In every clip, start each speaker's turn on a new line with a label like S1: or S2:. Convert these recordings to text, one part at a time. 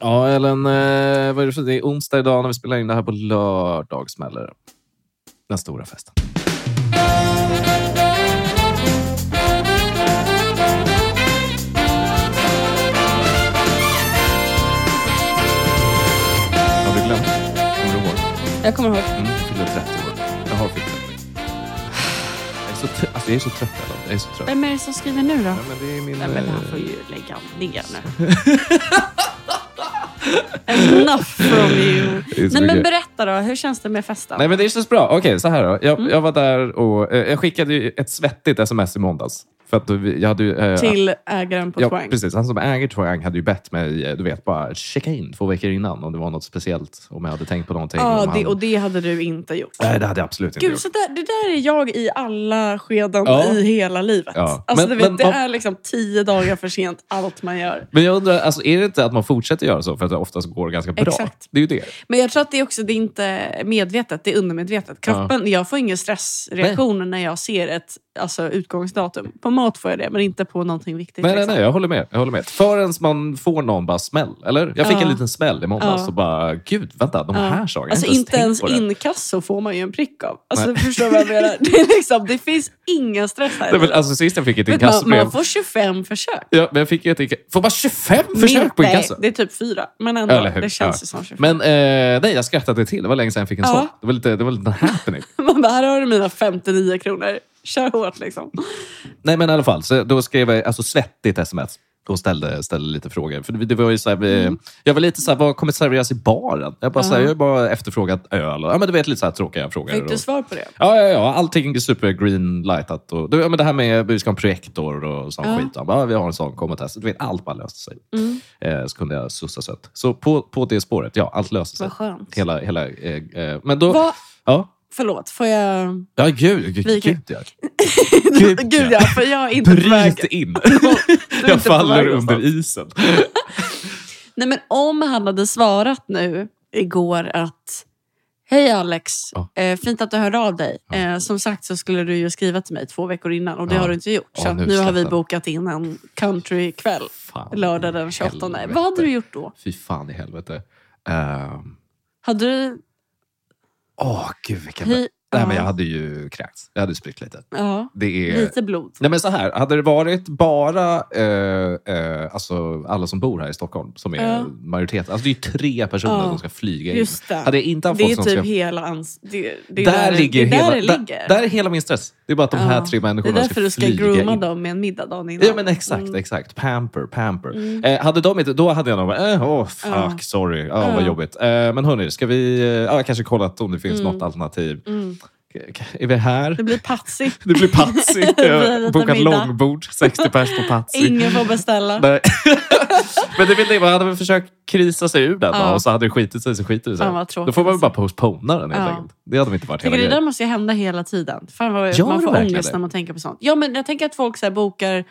S1: Ja, Ellen, eh, vad är det, för, det är onsdag idag när vi spelar in det här. På lördag smäller det. Den stora festen. Har du glömt? Kommer du ihåg?
S2: Jag kommer ihåg.
S1: Mm, jag fyller 30 år. Jag har fyllt 30. Jag är så, tr- alltså, jag är så trött, Ellen. Jag är så trött.
S2: Vem är det som skriver nu då?
S1: Ja, men det är min...
S2: Nej, men han
S1: eh,
S2: får ju lägga ner nu. Enough from you.
S1: Det är så
S2: Nej, men
S1: mycket.
S2: berätta då. Hur känns det med festen?
S1: Nej, men det känns bra. Okej, så här då.
S2: Mm.
S1: Jag, jag var där och eh, jag skickade ju ett svettigt sms i måndags. För att vi- jag hade ju... eh,
S2: Till ägaren på
S1: ja,
S2: Twang.
S1: Precis. Han som äger Twang hade ju bett mig, eh, du vet, bara checka in två veckor innan om det var något speciellt. Om jag hade tänkt på någonting. om
S2: Ja,
S1: han...
S2: det, och det hade du inte gjort.
S1: Nej, det hade jag absolut inte
S2: Gud,
S1: gjort.
S2: så där, det där är jag i alla skeden
S1: Ja.
S2: i hela livet.
S1: Ja.
S2: Alltså,
S1: Men-
S2: du vet,
S1: men
S2: det
S1: vad-
S2: är liksom tio dagar för sent allt man gör.
S1: Men jag undrar, alltså, är det inte att man fortsätter göra så för att det oftast går ganska bra?
S2: Exakt.
S1: Det är ju det.
S2: Men jag tror att det är också det är inte medvetet, det är undermedvetet. Kroppen, Jag får ingen stressreaktion när jag ser ett alltså, utgångsdatum. På mat får jag det, men inte på någonting viktigt.
S1: Nej, nej,
S2: liksom.
S1: nej, jag håller med. Jag håller med. Förrän man får någon bara smäll, eller? Jag fick
S2: Ja.
S1: en liten smäll i måndags
S2: Ja.
S1: och bara, gud, vänta, de här
S2: Ja.
S1: sakerna. jag har
S2: Alltså inte ens
S1: tänkt på det.
S2: inkasso får man ju en prick av. Alltså,
S1: Nej.
S2: förstår du vad jag menar? Det, är liksom, det finns ingen stress här.
S1: Nej, men, alltså, sist jag fick ett
S2: Vet du, man,
S1: inkassobrev
S2: man får 25 försök.
S1: Ja, men jag fick ju ett inka- Får man 25 försök på
S2: Min-
S1: inkasso?
S2: Nej, det är typ fyra. Men ändå,
S1: Eller hur?
S2: det känns
S1: Ja.
S2: ju som 25.
S1: Men eh, nej, jag skrattade till. Det var länge sedan jag fick en
S2: Ja.
S1: sån. Det var lite, det var lite happening.
S2: Man bara, här har du mina 59 kronor. Kör hårt liksom.
S1: nej, men i alla fall. Så då skrev jag alltså, svettigt sms och ställde, ställde lite frågor. För det, det var ju så här, vi, Jag var lite så här, vad kommer serveras i baren? Jag, bara, så här,
S2: Mm. Ja.
S1: jag har bara efterfrågat öl. Och, ja, men du vet, lite så här tråkiga frågor.
S2: Fick du
S1: Och-
S2: svar på det?
S1: Ja, ja, ja. Allting är super greenlightat. Och, du, ja, men det här med vi ska ha en projektor och sån
S2: Ja. Mm.
S1: skit. Ja, bara, vi har en sån, kom och testa. Du vet, allt bara löste sig. Eh, så kunde jag sussa sött. Så på, på det spåret, ja, allt löste sig.
S2: Vad skönt.
S1: Hela, hela, eh, eh, men då...
S2: Vad-
S1: Ja.
S2: Förlåt, får jag...
S1: Ja, gud. Gud,
S2: Vi-
S1: gud ja. Gud,
S2: Gud ja, för jag är inte på väg.
S1: Bryt in.
S2: Du är
S1: Jag
S2: inte på väg
S1: faller
S2: någonstans.
S1: under isen.
S2: Nej, men om han hade svarat nu igår att Hej Alex,
S1: Ja.
S2: eh, fint att du hörde av dig.
S1: Ja.
S2: Eh, som sagt så skulle du ju skriva till mig två veckor innan och det
S1: Ja.
S2: har du inte gjort. Så
S1: Ja,
S2: att
S1: nu
S2: nu har vi
S1: släppte han.
S2: bokat in en countrykväll
S1: Fan
S2: lördag
S1: i
S2: den 28.
S1: helvete.
S2: Vad hade du gjort då?
S1: Fy fan i helvete. Ehm,
S2: Hade du...
S1: Åh, gud vilken...
S2: Hej,
S1: Nej, men jag
S2: ja,
S1: hade ju kräkts. Jag hade spytt lite.
S2: ja,
S1: Det är...
S2: lite blod.
S1: Nej, men så här. Hade det varit bara eh, eh, alltså alla som bor här i Stockholm, som är
S2: Ja.
S1: majoriteten. Alltså det är ju tre personer
S2: Ja.
S1: som ska flyga in.
S2: Just det.
S1: Hade jag inte haft
S2: Det
S1: folk
S2: är
S1: som
S2: typ
S1: ska...
S2: hela ans... Det, det är
S1: där,
S2: det-
S1: ligger
S2: det är
S1: hela,
S2: där det
S1: Där,
S2: ligger.
S1: där är hela min stress. Det är bara att de här
S2: Ja.
S1: tre
S2: det är
S1: människorna
S2: därför du ska
S1: flyga
S2: grooma
S1: in.
S2: dem med en middag dagen innan.
S1: Ja, men exakt.
S2: Mm.
S1: exakt. Pamper, pamper.
S2: Mm.
S1: Eh, hade de inte, då hade jag nog bara, eh, oh, fuck,
S2: Ja.
S1: sorry, ah, vad
S2: Ja.
S1: jobbigt. Eh, men hörni, ska vi... Eh, ja, jag kanske kollat om det finns
S2: Mm.
S1: något alternativ.
S2: Mm.
S1: K- Är vi här?
S2: Det blir patsigt.
S1: Det blir Patsy.
S2: blir en liten
S1: Bokat
S2: middag.
S1: långbord, 60 pers på Patsy.
S2: Ingen får beställa.
S1: Nej. men det vill det, man hade väl försökt krisa sig ur den då,
S2: Ja.
S1: och så hade det skitit sig så skiter det sig.
S2: Fan, vad tråkigt.
S1: då får man väl bara postpona den helt
S2: Ja.
S1: enkelt. Det hade väl inte varit hela
S2: Tycker det
S1: grejen.
S2: där måste ju hända hela tiden. Fan vad
S1: Gör
S2: man
S1: det
S2: får
S1: verkligen
S2: ångest
S1: det?
S2: när man tänker på sånt. Ja, men jag tänker att folk så här bokar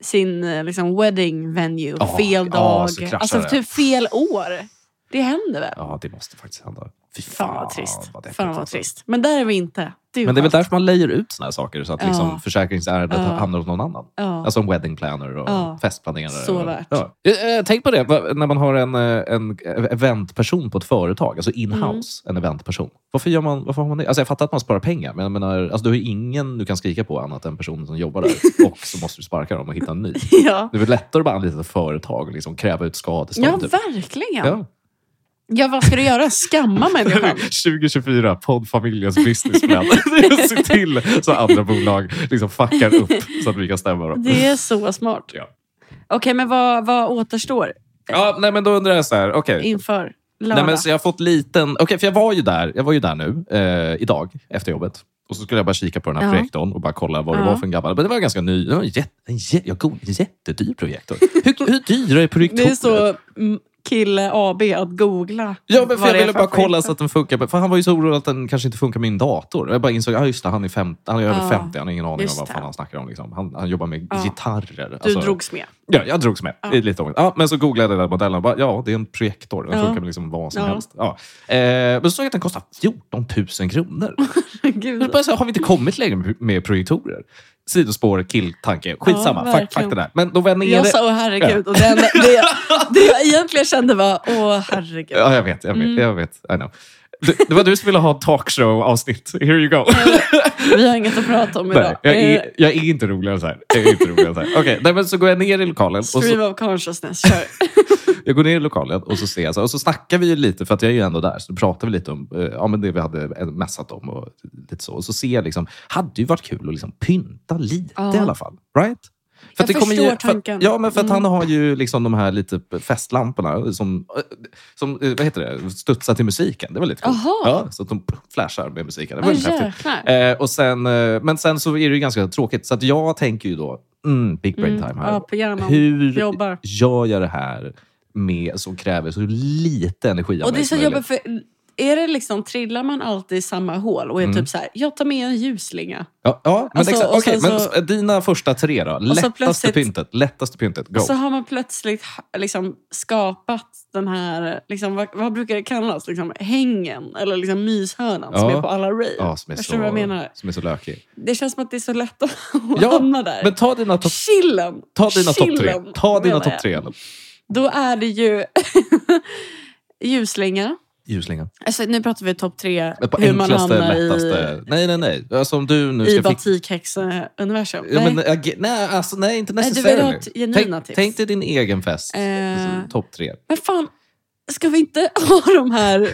S2: sin eh, liksom, wedding venue
S1: Ja,
S2: fel
S1: ja,
S2: dag.
S1: så kraschar
S2: alltså
S1: det.
S2: typ fel år. Det händer väl?
S1: Ja, det måste faktiskt hända. Fy
S2: Fan vad trist.
S1: vad deppigt
S2: Fan vad
S1: alltså.
S2: trist. Men där är vi inte. Det är ju
S1: Men det är väl
S2: skönt.
S1: därför man lejer ut såna här saker så att
S2: Ja.
S1: liksom försäkringsärendet
S2: Ja.
S1: hamnar hos någon annan.
S2: Ja.
S1: Alltså en wedding planner och
S2: Ja.
S1: festplanerare.
S2: Så
S1: och,
S2: värt.
S1: Ja. Eh, eh, Tänk på det, va- när man har en, eh, en eventperson på ett företag,
S2: Mm.
S1: alltså in-house, en eventperson. Varför, gör man, varför har man det? Alltså jag fattar att man sparar pengar, men jag menar, alltså du har ju ingen du kan skrika på annat än personen som jobbar där. och så måste du sparka dem och hitta en ny.
S2: ja.
S1: Det är väl lättare att bara anlita ett företag och liksom kräva ut skadestånd.
S2: ja,
S1: typ.
S2: verkligen. Ja.
S1: Ja.
S2: vad ska du göra? Skamma människan?
S1: 2024, poddfamiljens businessplan. Se till så andra bolag liksom fuckar upp så att vi kan stämma dem.
S2: Det är så smart.
S1: Ja.
S2: Okej, men vad, vad återstår
S1: Ja, nej, men då undrar jag så här. Okej.
S2: inför lördag?
S1: Nej, men så jag har fått liten... Okej, för jag var ju där, jag var ju där nu, eh, idag, efter jobbet. Och så skulle jag bara kika på den här
S2: Ja.
S1: projektorn och bara kolla vad det
S2: Ja.
S1: var för en gammal. Men det var ganska ny. Det var en, jätte, en, jä- jag go- en jättedyr projektor. Hur, hur dyra är projektorer?
S2: Det är så mm, kille AB att googla.
S1: Ja, men för
S2: vad
S1: jag
S2: det är
S1: ville bara
S2: skit.
S1: kolla så att den funkar. För han var ju så orolig att den kanske inte funkar med min dator. Jag bara insåg, ja just det, han är, 50, han är över
S2: Ja,
S1: 50. Han har ingen aning om
S2: just
S1: vad
S2: det.
S1: fan han snackar om. Liksom. Han, han jobbar med
S2: Ja.
S1: gitarrer.
S2: Du
S1: Alltså,
S2: drogs med.
S1: Ja, jag drogs med.
S2: Ja.
S1: i Lite ångest. ja, men så googlade jag den där modellen och bara, ja, det är en projektor. Den
S2: Ja.
S1: funkar med liksom vad som
S2: Ja.
S1: helst. Ja. Eh, men så såg jag att den kostar 14 000 kronor.
S2: Gud.
S1: Men bara så här, har vi inte kommit längre med projektorer? sidospår, killtanke. Skitsamma,
S2: Ja,
S1: fuck, fuck
S2: verkligen.
S1: det där. Men de var nere...
S2: Jag sa åh herregud och det, enda, det, det jag egentligen kände var åh herregud.
S1: Ja, jag vet. Jag vet,
S2: Mm.
S1: jag vet. I know. Det, det var du som ville ha talkshow-avsnitt. Here you go.
S2: Vi har inget att prata om
S1: Nej,
S2: idag.
S1: jag,
S2: Eh,
S1: är, jag är inte roligare än så här. Jag är inte roligare än så här. Okej, nej, men så går jag ner i lokalen. Och så,
S2: Stream of consciousness, kör.
S1: jag går ner i lokalen och så ser jag så här, och så snackar vi ju lite, för att jag är ju ändå där, så pratar vi lite om eh, ja, men det vi hade eh, messat om och lite så. Och så ser jag liksom, hade ju varit kul att liksom pynta lite
S2: Ja.
S1: i alla fall. Right? För att
S2: Jag
S1: kommer
S2: förstår
S1: ju, för,
S2: tanken.
S1: Ja, men för att
S2: Mm.
S1: han har ju liksom de här lite festlamporna som, eh, som eh, vad heter det? studsar till musiken. Det var lite coolt.
S2: Jaha.
S1: Ja, så att de flashar med musiken. Det var
S2: Ja,
S1: lite häftigt.
S2: Ah, jäklar.
S1: Eh, och sen, eh, men sen så är det ju ganska tråkigt. Så att jag tänker ju då, mm, big brain time här.
S2: Ja, på hjärnan.
S1: Hur
S2: jobbar.
S1: gör jag det här med, som kräver så lite energi av
S2: Och det är
S1: mig
S2: så
S1: som möjligt? Mm.
S2: jobbigt för är det liksom, trillar man alltid i samma hål och är typ så här, jag tar med en ljusslinga.
S1: Ja, ja men,
S2: Alltså,
S1: exakt,
S2: och sen
S1: Okej, men
S2: så-
S1: s- dina första tre då? Lättaste
S2: plötsligt-
S1: pyntet. Lättaste pyntet. Go.
S2: Och så har man plötsligt liksom, skapat den här, liksom, vad, vad brukar det kallas, liksom, hängen eller liksom, myshörnan som
S1: Ja.
S2: är på alla rave.
S1: ja, som, är
S2: Förstår du vad jag
S1: så,
S2: menar?
S1: som är så lökig.
S2: Det känns som att det är så lätt att
S1: Ja,
S2: hamna där.
S1: Men ta dina topp
S2: Chillen!
S1: ta dina top tre.
S2: Chillen,
S1: Ta dina
S2: menar
S1: topp
S2: jag.
S1: tre. Ellen.
S2: Då är det ju ljusslinga.
S1: Ljusslingan.
S2: Alltså, nu pratar vi topp tre,
S1: Men På
S2: hur man
S1: enklaste,
S2: hamnar
S1: lättaste. Nej, nej, nej. Alltså, om du nu
S2: i, i
S1: ska fixa-
S2: batikhäxuniversum.
S1: Ja, men, ag- nej, alltså, nej, inte
S2: Nej, du vill ha
S1: necessarily.
S2: genuina
S1: Tänk,
S2: tips.
S1: tänk dig din egen fest.
S2: Eh.
S1: Alltså, Topp tre.
S2: Men fan, ska vi inte ha de här...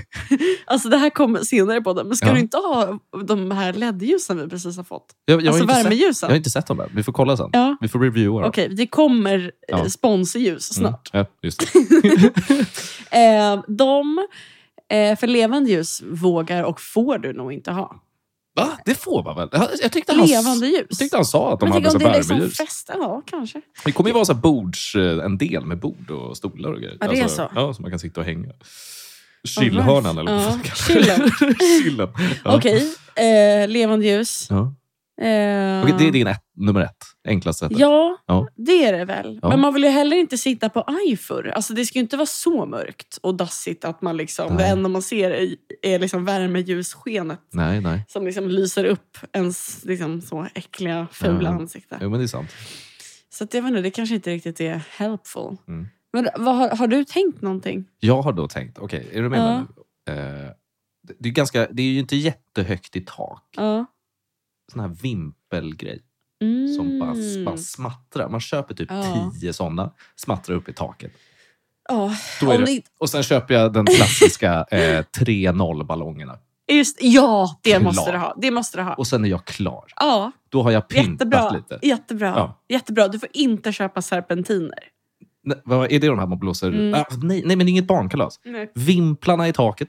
S2: Alltså det här kommer senare på den, men ska
S1: Ja.
S2: du inte ha de här LED-ljusen vi precis har fått?
S1: Jag, jag,
S2: alltså
S1: har, inte sett, jag
S2: värmeljusen?
S1: har inte sett dem än. Vi får kolla sen.
S2: Ja.
S1: Vi får reviewa dem.
S2: Okej, det kommer eh,
S1: Ja.
S2: sponsorljus
S1: Mm.
S2: snart.
S1: Ja, just det. Mm.
S2: Eh, de, eh, för levande ljus vågar och får du nog inte ha.
S1: Va? Det får man väl? Jag, jag, tyckte, han,
S2: Levande
S1: jag
S2: ljus.
S1: tyckte han sa att de
S2: men
S1: hade
S2: tänk
S1: så
S2: om det är liksom
S1: värmeljus.
S2: fest, ja kanske.
S1: det kommer ju vara så här bords, eh, en del med bord och stolar och grejer.
S2: Ja, det är
S1: Alltså,
S2: så.
S1: Ja, så man kan sitta och hänga. Chillhörnan eller vad
S2: Ja,
S1: man kallar
S2: chillen.
S1: det. Chillen. Ja.
S2: Okej, eh, levande ljus.
S1: Ja.
S2: Eh,
S1: Okej, det är din ett, nummer ett. Enklast sättet.
S2: Ja,
S1: Ja.
S2: det är det väl.
S1: Ja.
S2: Men man vill ju heller inte sitta på iFur. Alltså Det ska ju inte vara så mörkt och dassigt att man liksom,
S1: Nej.
S2: det enda man ser är, är liksom värmeljusskenet
S1: Nej, nej.
S2: som liksom lyser upp ens liksom, så äckliga, fula
S1: Ja.
S2: ansikte.
S1: Jo, men det är sant.
S2: Så att jag vet inte, det kanske inte riktigt är helpful.
S1: Mm.
S2: Men vad, har, har du tänkt någonting?
S1: Jag har då tänkt, okej, är du med mig nu? Eh, det- det, är ganska, det är ju inte jättehögt i tak.
S2: Ja.
S1: Sån här vimpelgrej.
S2: Mm.
S1: som bara, bara smattrar. Man köper typ
S2: Ja.
S1: tio såna, smattrar upp i taket.
S2: Ja,
S1: Då är
S2: om
S1: det.
S2: det-
S1: Och sen köper jag den klassiska eh, 3-0-ballongerna.
S2: Just, ja, det
S1: Klar.
S2: måste du ha. Det måste du ha.
S1: Och sen är jag klar.
S2: ja,
S1: Då har jag pyntat
S2: jättebra.
S1: lite.
S2: Jättebra.
S1: Ja.
S2: jättebra. Du får inte köpa serpentiner.
S1: Nej, vad är det de här man blåser?
S2: Mm.
S1: Ah, nej, nej, men inget barnkalas. Vimplarna i taket.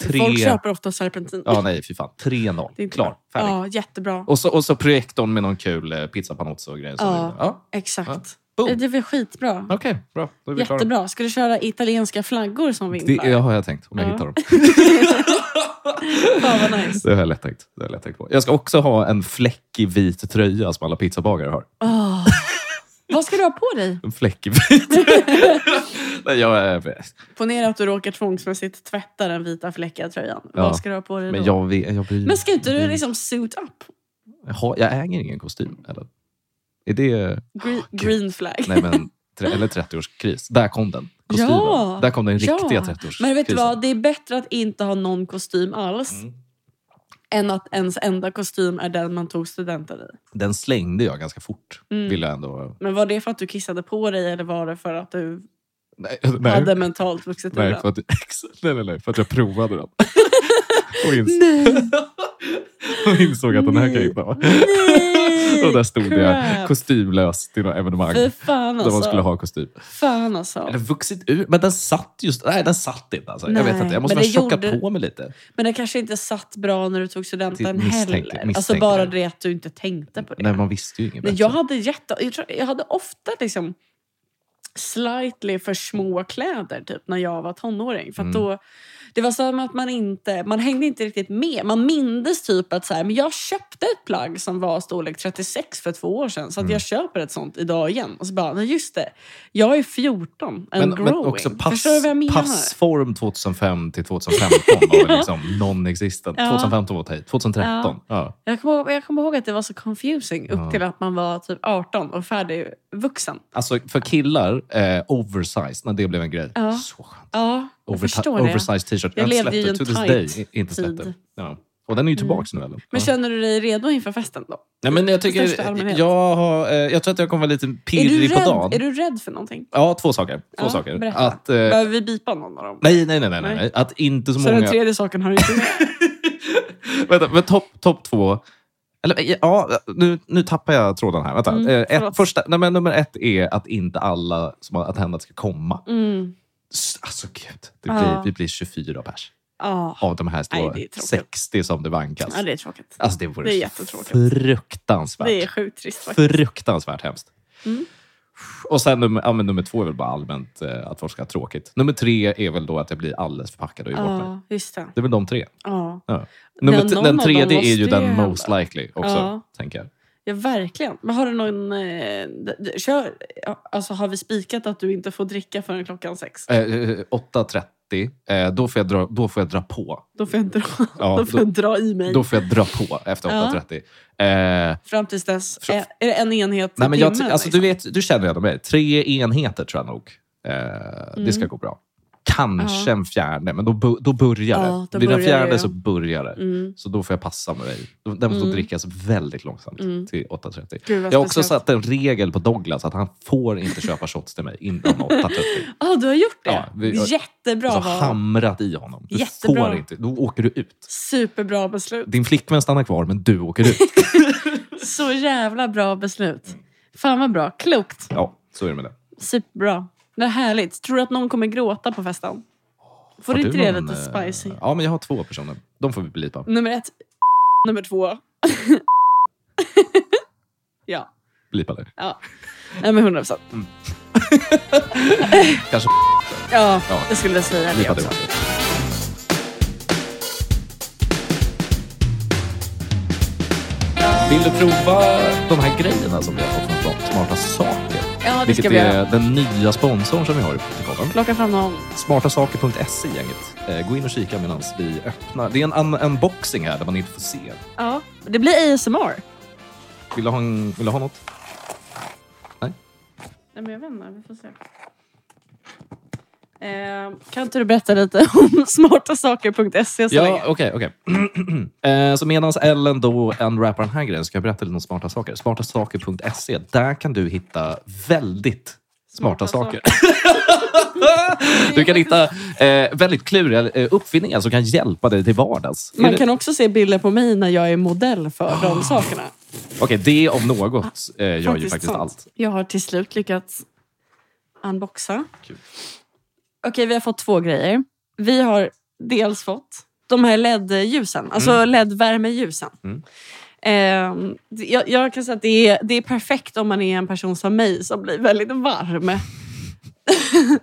S1: Tre...
S2: Folk köper ofta serpentin.
S1: Ja, nej, fy fan.
S2: Det är
S1: 3-0.
S2: inte
S1: Klar. Färdig.
S2: Ja, jättebra.
S1: Och, så, och så projektorn med någon kul eh, pizzapanozzo och grejer. som
S2: Ja.
S1: vi- Ja.
S2: Exakt.
S1: Boom.
S2: Det är väl skitbra.
S1: Okej, bra. Då är vi klara.
S2: Jättebra. Ska du köra italienska flaggor som vinklar?
S1: Det har jag tänkt, om jag
S2: Ja.
S1: hittar dem.
S2: Fan vad nice.
S1: Det har jag lätt tänkt, det har jag lätt tänkt på. Jag ska också ha en fläckig vit tröja som alla pizzabagare har.
S2: Åh. Vad ska du ha på dig?
S1: En fläckig vit. Nej, jag är...
S2: Ponera att du råkar tvångsmässigt tvätta den vita fläckiga tröjan.
S1: Ja,
S2: Vad ska du ha på dig
S1: Men
S2: då?
S1: jag, Mm. vet- jag bryr mig
S2: Men ska inte du liksom suit up?
S1: Jag har- Jag äger ingen kostym. Eller? Är det...
S2: Gre-
S1: Ah, Gud.
S2: green flag.
S1: Nej, men... tre- Eller 30-årskris. Där kom den. Kostymen.
S2: Ja.
S1: Där kom den riktiga
S2: Ja.
S1: 30-årskrisen.
S2: Men vet du vad? Det är bättre att inte ha någon kostym alls
S1: Mm.
S2: än att ens enda kostym är den man tog studenten i.
S1: Den slängde jag ganska fort.
S2: Mm.
S1: Vill jag ändå...
S2: Men var det för att du kissade på dig eller var det för att du
S1: Nej, nej.
S2: hade mentalt vuxit ur
S1: nej,
S2: den?
S1: för att... nej, nej, nej, för att jag provade den. Och ins-
S2: Nej!
S1: och insåg att den här kan jag
S2: Nej.
S1: inte ha.
S2: Nej!
S1: Och där stod jag
S2: Crap.
S1: kostymlös till något evenemang.
S2: Fy fan
S1: Där man
S2: alltså.
S1: skulle ha kostym.
S2: Fan alltså.
S1: Eller vuxit ur. Men den satt just... Nej, den satt inte. Alltså. Jag
S2: Nej,
S1: vet inte. Jag måste
S2: men
S1: väl
S2: det
S1: tjocka
S2: gjorde-
S1: på mig lite.
S2: Men det kanske inte satt bra när du tog
S1: Det
S2: studenten
S1: misstänker-
S2: heller. alltså
S1: misstänker
S2: bara
S1: jag.
S2: det att du inte tänkte på det.
S1: Nej, man visste ju inget
S2: Men
S1: bättre.
S2: jag hade jätte... Jag, tror, jag hade ofta liksom... slightly för små kläder typ när jag var tonåring. För att
S1: Mm.
S2: då, det var som att man inte man hängde inte riktigt med. Man mindes typ att så här, men jag köpte ett plagg som var storlek 36 för två år sedan så att
S1: Mm.
S2: jag köper ett sånt idag igen. Och så bara, nej just det, jag är 14 and
S1: Men,
S2: growing.
S1: men också pass,
S2: Förstår du vad jag menar?
S1: passform 2005 till 2015 var väl liksom non-existent.
S2: Ja.
S1: 2015 var att ta i. 2013. Ja.
S2: Jag kommer, ihåg- jag kommer ihåg att det var så confusing upp
S1: Ja.
S2: till att man var typ 18 och färdig vuxen.
S1: Alltså för killar, eh, oversized, när det blev en grej.
S2: Ja.
S1: Så skönt.
S2: Ja, jag förstår det.
S1: Oversized t-shirt.
S2: Jag
S1: Jag
S2: levde
S1: släppte
S2: ju i en
S1: to this
S2: tight
S1: day. i- Inte släppte.
S2: tid. Mm.
S1: Ja. Och den är ju tillbaka nu eller?
S2: Men
S1: Ja.
S2: känner du dig redo inför festen då?
S1: Nej, men jag, tycker,
S2: största allmänhet.
S1: jag, har, eh, jag tror att jag kommer vara lite
S2: Är du,
S1: pirrig på dagen. Eh.
S2: rädd, är du rädd för någonting?
S1: Ja, två saker. Två
S2: Ja,
S1: saker.
S2: berätta.
S1: Att, eh,
S2: Behöver vi bipa någon av dem?
S1: nej, nej, nej, nej, nej.
S2: Nej.
S1: Att inte så,
S2: Så den
S1: många...
S2: tredje saken har du inte med?
S1: Vänta, men topp top två... Eller, ja, nu, nu tappar jag tråden här. Vänta.
S2: Mm,
S1: Eh, ett,
S2: förlåt.
S1: första, nej, men nummer ett är att inte alla som har attendat ska komma.
S2: Mm.
S1: S- Alltså gud, det
S2: Ja.
S1: blir, vi blir 24 pers.
S2: Ja.
S1: Av de här
S2: Nej,
S1: står
S2: det är tråkigt.
S1: 60 som det vankas.
S2: ja, det är tråkigt.
S1: Alltså det vore
S2: det är jättetråkigt.
S1: fruktansvärt.
S2: Det är sjukt trist faktiskt.
S1: fruktansvärt hemskt.
S2: Mm.
S1: Och sen nummer, ja, men nummer två är väl bara allmänt eh, att folk ska ha tråkigt. Nummer tre är väl då att jag blir alldeles förpackad och ger bort mig.
S2: Ja, just det.
S1: Det är väl de tre.
S2: Ja.
S1: Ja. Nummer
S2: Men
S1: t-
S2: någon
S1: den
S2: av dem
S1: tredje är
S2: måste
S1: ju
S2: ju
S1: den
S2: hända.
S1: most likely också,
S2: Ja.
S1: tänker jag.
S2: ja, verkligen. Men har du någon... Eh, d- d- kör, ja, alltså, har vi spikat att du inte får dricka förrän klockan sex?
S1: Eh, eh, 8.30, eh, då, får jag dra, då får jag dra på.
S2: Då får jag dra,
S1: Ja,
S2: då får jag dra i mig.
S1: Då får jag dra på efter
S2: Ja.
S1: 8.30. Eh,
S2: Fram tills dess.
S1: För-
S2: Är, är det en enhet i
S1: nej, men jag, ty-
S2: timmen,
S1: alltså, du,
S2: liksom?
S1: vet, du känner redan mig. Tre enheter tror jag nog. Eh, Det
S2: Mm.
S1: ska gå bra. Kanske en fjärde, men då, bu- då börjar det.
S2: Ja, då
S1: Blir det en
S2: börjar det,
S1: fjärde
S2: ja.
S1: så börjar det.
S2: Mm.
S1: Så då får jag passa med dig. Då- Den får
S2: Mm.
S1: drickas väldigt långsamt
S2: Mm.
S1: till 8.30.
S2: Gud, vad
S1: Jag har också
S2: speciellt.
S1: satt en regel på Douglas att han får inte köpa shots till mig innan 8.30.
S2: Ja, du har gjort det?
S1: Ja, vi- jag-
S2: Jättebra
S1: Alltså,
S2: val.
S1: hamrat i honom. Du
S2: Jättebra.
S1: får inte. Då åker du ut.
S2: Superbra beslut.
S1: Din flickvän stannar kvar, men du åker ut.
S2: Så jävla bra beslut. Fan vad bra. Klokt.
S1: Ja, så är det med det.
S2: Superbra. Det är härligt. Tror du att någon kommer gråta på festen? Får
S1: Har
S2: du
S1: du
S2: inte det
S1: någon,
S2: lite
S1: eh,
S2: spicy?
S1: Ja, men jag har två personer. De får vi blipa.
S2: Nummer ett. Nummer två. ja.
S1: Blipa det.
S2: ja. Nej, men 100 procent.
S1: Kanske
S2: Ja,
S1: Ja.
S2: jag skulle säga det
S1: blipa det
S2: också.
S1: också. Vill du prova de här grejerna som vi har fått från Smarta Saker?
S2: Ja, det ska
S1: Vilket
S2: vi
S1: är
S2: göra.
S1: den nya sponsorn som vi har i podden.
S2: Plocka fram någon.
S1: Smartasaker.se gänget. Eh, Gå in och kika medan vi öppnar. Det är en un- unboxing här där man inte får se.
S2: Ja. Det blir ASMR.
S1: Vill du ha, en, vill du ha något? Nej?
S2: Nej, men jag vet inte. Vi får se. Eh, kan inte du berätta lite om smartasaker.se E så
S1: Ja,
S2: länge?
S1: okej. okej. Eh, så medan Ellen då unwrappar den här grejen ska jag berätta lite om smarta saker. Smartasaker.se, där kan du hitta väldigt smarta,
S2: Smarta
S1: saker. du kan hitta eh, väldigt kluriga eh, uppfinningar som kan hjälpa dig till vardags. Är
S2: Man
S1: det- Ah.
S2: kan också se bilder på mig när jag är modell för de sakerna.
S1: Okej, det om något eh, gör ju faktiskt
S2: sant.
S1: allt.
S2: Jag har till slut lyckats unboxa.
S1: Kul.
S2: Okej, vi har fått två grejer. Vi har dels fått de här LED-ljusen, alltså LED-värmeljusen.
S1: Mm.
S2: Ehm, det- jag, jag kan säga att det är, det är perfekt om man är en person som mig som blir väldigt varm.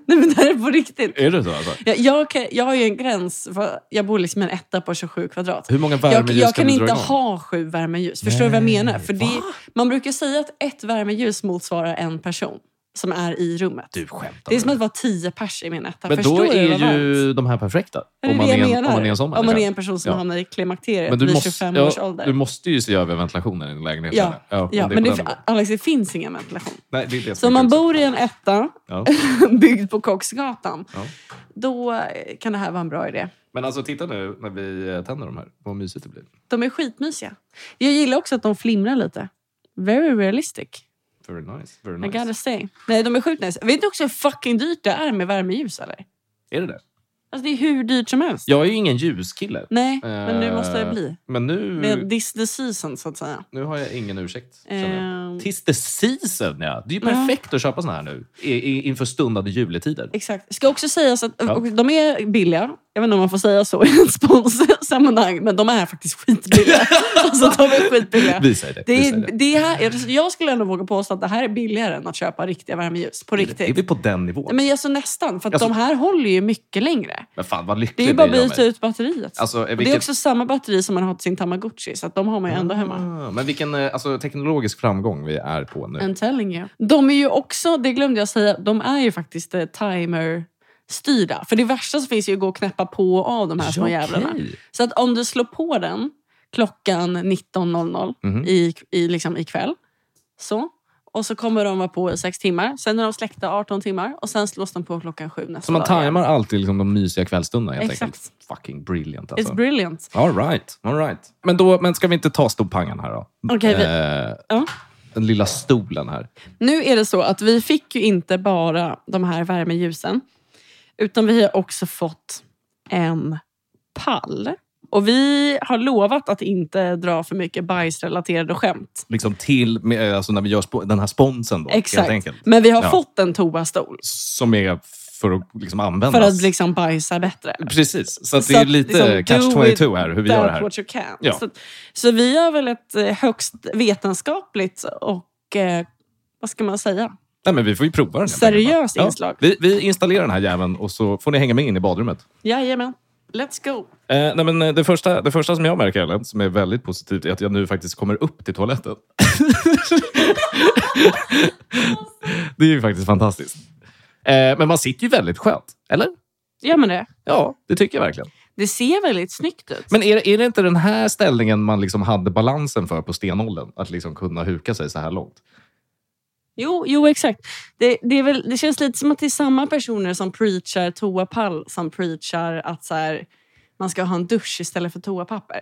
S2: Nej, men det här är på riktigt.
S1: Är det så? Alltså?
S2: Jag, jag, kan, jag har ju en gräns. För, jag bor liksom i en etta på 27 kvadrat.
S1: Hur många
S2: Jag,
S1: värmeljus
S2: jag kan
S1: du dra
S2: inte
S1: igång?
S2: ha sju värmeljus. Förstår du vad jag
S1: Nej,
S2: menar? För det, man brukar säga att ett värmeljus motsvarar en person som är i rummet.
S1: Du skämtar.
S2: det är som
S1: med
S2: att vara tio pers i min etta.
S1: mig. Typ. men
S2: Förstår
S1: då
S2: du
S1: är
S2: vad varmt?
S1: ju de här perfekta.
S2: Det är
S1: Om man
S2: det jag
S1: är en-
S2: menar.
S1: om man är en sån
S2: Om man
S1: människa.
S2: är en person som
S1: Ja.
S2: hamnar i klimakteriet
S1: Men du,
S2: vid
S1: måste,
S2: 25 års
S1: ja,
S2: ålder.
S1: du måste ju se över ventilationen i din lägenhet.
S2: Ja,
S1: känner jag. om
S2: ja,
S1: det är
S2: men
S1: på
S2: det,
S1: den nivån.
S2: Alex, det finns ingen ventilation.
S1: Nej, det är det
S2: Så
S1: som
S2: om
S1: är
S2: man
S1: kruxet.
S2: bor i en etta
S1: Ja.
S2: byggd på Koksgatan,
S1: Ja.
S2: då eh, kan det här vara en bra idé.
S1: Men alltså titta nu när vi eh, tänder de här, vad mysigt det blir.
S2: De är skitmysiga. Jag gillar också att de flimrar lite. Very realistic.
S1: Very nice. Very
S2: I gotta
S1: nice.
S2: say. Nej, de är sjukt nice. Vet du också hur fucking dyrt det är med värmeljus? Eller?
S1: Är det det?
S2: Alltså, det är hur dyrt som helst.
S1: Jag är ju ingen ljuskille.
S2: Nej, men nu måste det
S1: Eh,
S2: bli.
S1: Men nu,
S2: Det är this the season, så att säga.
S1: nu har jag ingen ursäkt. känner jag.
S2: Ehm,
S1: Tis the season, ja. Det är ju
S2: Ja.
S1: perfekt att köpa såna här nu i, i, inför stundande juletider.
S2: Exakt. Ska också sägas att
S1: Ja.
S2: och de är billiga. jag vet inte om man får säga så i en sponssammanhang, men de är faktiskt skitbilliga. alltså, de är skitbilliga.
S1: Visa dig.
S2: Det
S1: visa
S2: är,
S1: dig.
S2: det här, jag skulle ändå våga påstå att det här är billigare än att köpa riktiga värmeljus. På
S1: Är
S2: riktigt.
S1: vi på den nivån? Men,
S2: Men alltså nästan, för att
S1: Alltså-
S2: de här håller ju mycket längre.
S1: fan vad
S2: Det är
S1: lycklig
S2: ju bara att
S1: blir jag
S2: byta
S1: med.
S2: ut batteriet.
S1: Alltså,
S2: Och Det
S1: vilken...
S2: är också samma batteri som man har till sin Tamagotchi, så att de har man ju ändå hemma.
S1: Ah, Men vilken eh, alltså, teknologisk framgång vi är på nu.
S2: I'm telling you. De är ju också, det glömde jag säga, de är ju faktiskt eh, timer-styrda. För det värsta så finns ju att gå och knäppa på och av de här små
S1: Ja,
S2: jävlarna.
S1: okej.
S2: Så att om du slår på den klockan 19.00
S1: Mhm.
S2: i, i, liksom ikväll, så. Och så kommer de vara på i sex timmar. Sen är de släckta 18 timmar och sen slås de på klockan sju nästa
S1: Så man
S2: dag. igen.
S1: tajmar alltid liksom, de mysiga kvällsstunderna helt
S2: Exakt.
S1: enkelt. Fucking brilliant
S2: It's
S1: alltså.
S2: brilliant.
S1: All right, all right. Men, då, men ska vi inte ta storpangan här då?
S2: Okej, vi-
S1: Eh,
S2: Ja.
S1: Den lilla stolen här.
S2: Nu är det så att vi fick ju inte bara de här värmeljusen. Utan vi har också fått en pall. Och vi har lovat att inte dra för mycket bajsrelaterade skämt.
S1: Liksom till med, alltså när vi gör spo- den här sponsen då,
S2: Exakt.
S1: helt enkelt.
S2: Men vi har
S1: Ja.
S2: fått en toastol.
S1: Som är för att liksom
S2: För
S1: användas.
S2: att liksom bajsa bättre.
S1: Precis, så att
S2: Så
S1: det är
S2: att
S1: lite
S2: liksom,
S1: catch
S2: do
S1: 22 här hur vi gör det
S2: That
S1: här.
S2: what you can.
S1: Ja.
S2: Så, så vi har väl ett eh, högst vetenskapligt och eh, vad ska man säga?
S1: Nej, men vi får ju prova den. helt enkelt, va?
S2: Seriöst
S1: Ja.
S2: inslag.
S1: Vi, vi installerar den här jäveln och så får ni hänga med in i badrummet.
S2: Jajamän. Let's go.
S1: Eh, nej, men eh, det, första, det första som jag märker, Ellen, som är väldigt positivt, är att jag nu faktiskt kommer upp till toaletten. det är ju faktiskt fantastiskt. Eh, men man sitter ju väldigt skönt, eller?
S2: Ja men det.
S1: Ja, det tycker jag verkligen.
S2: Det ser väldigt snyggt ut.
S1: Men är, är det inte den här ställningen man liksom hade balansen för på stenåldern? Att liksom kunna huka sig så här långt?
S2: Jo, jo exakt. Det, det, är väl, det känns lite som att det är samma personer som preachar toapall som preachar att så här, man ska ha en dusch istället för toapapper.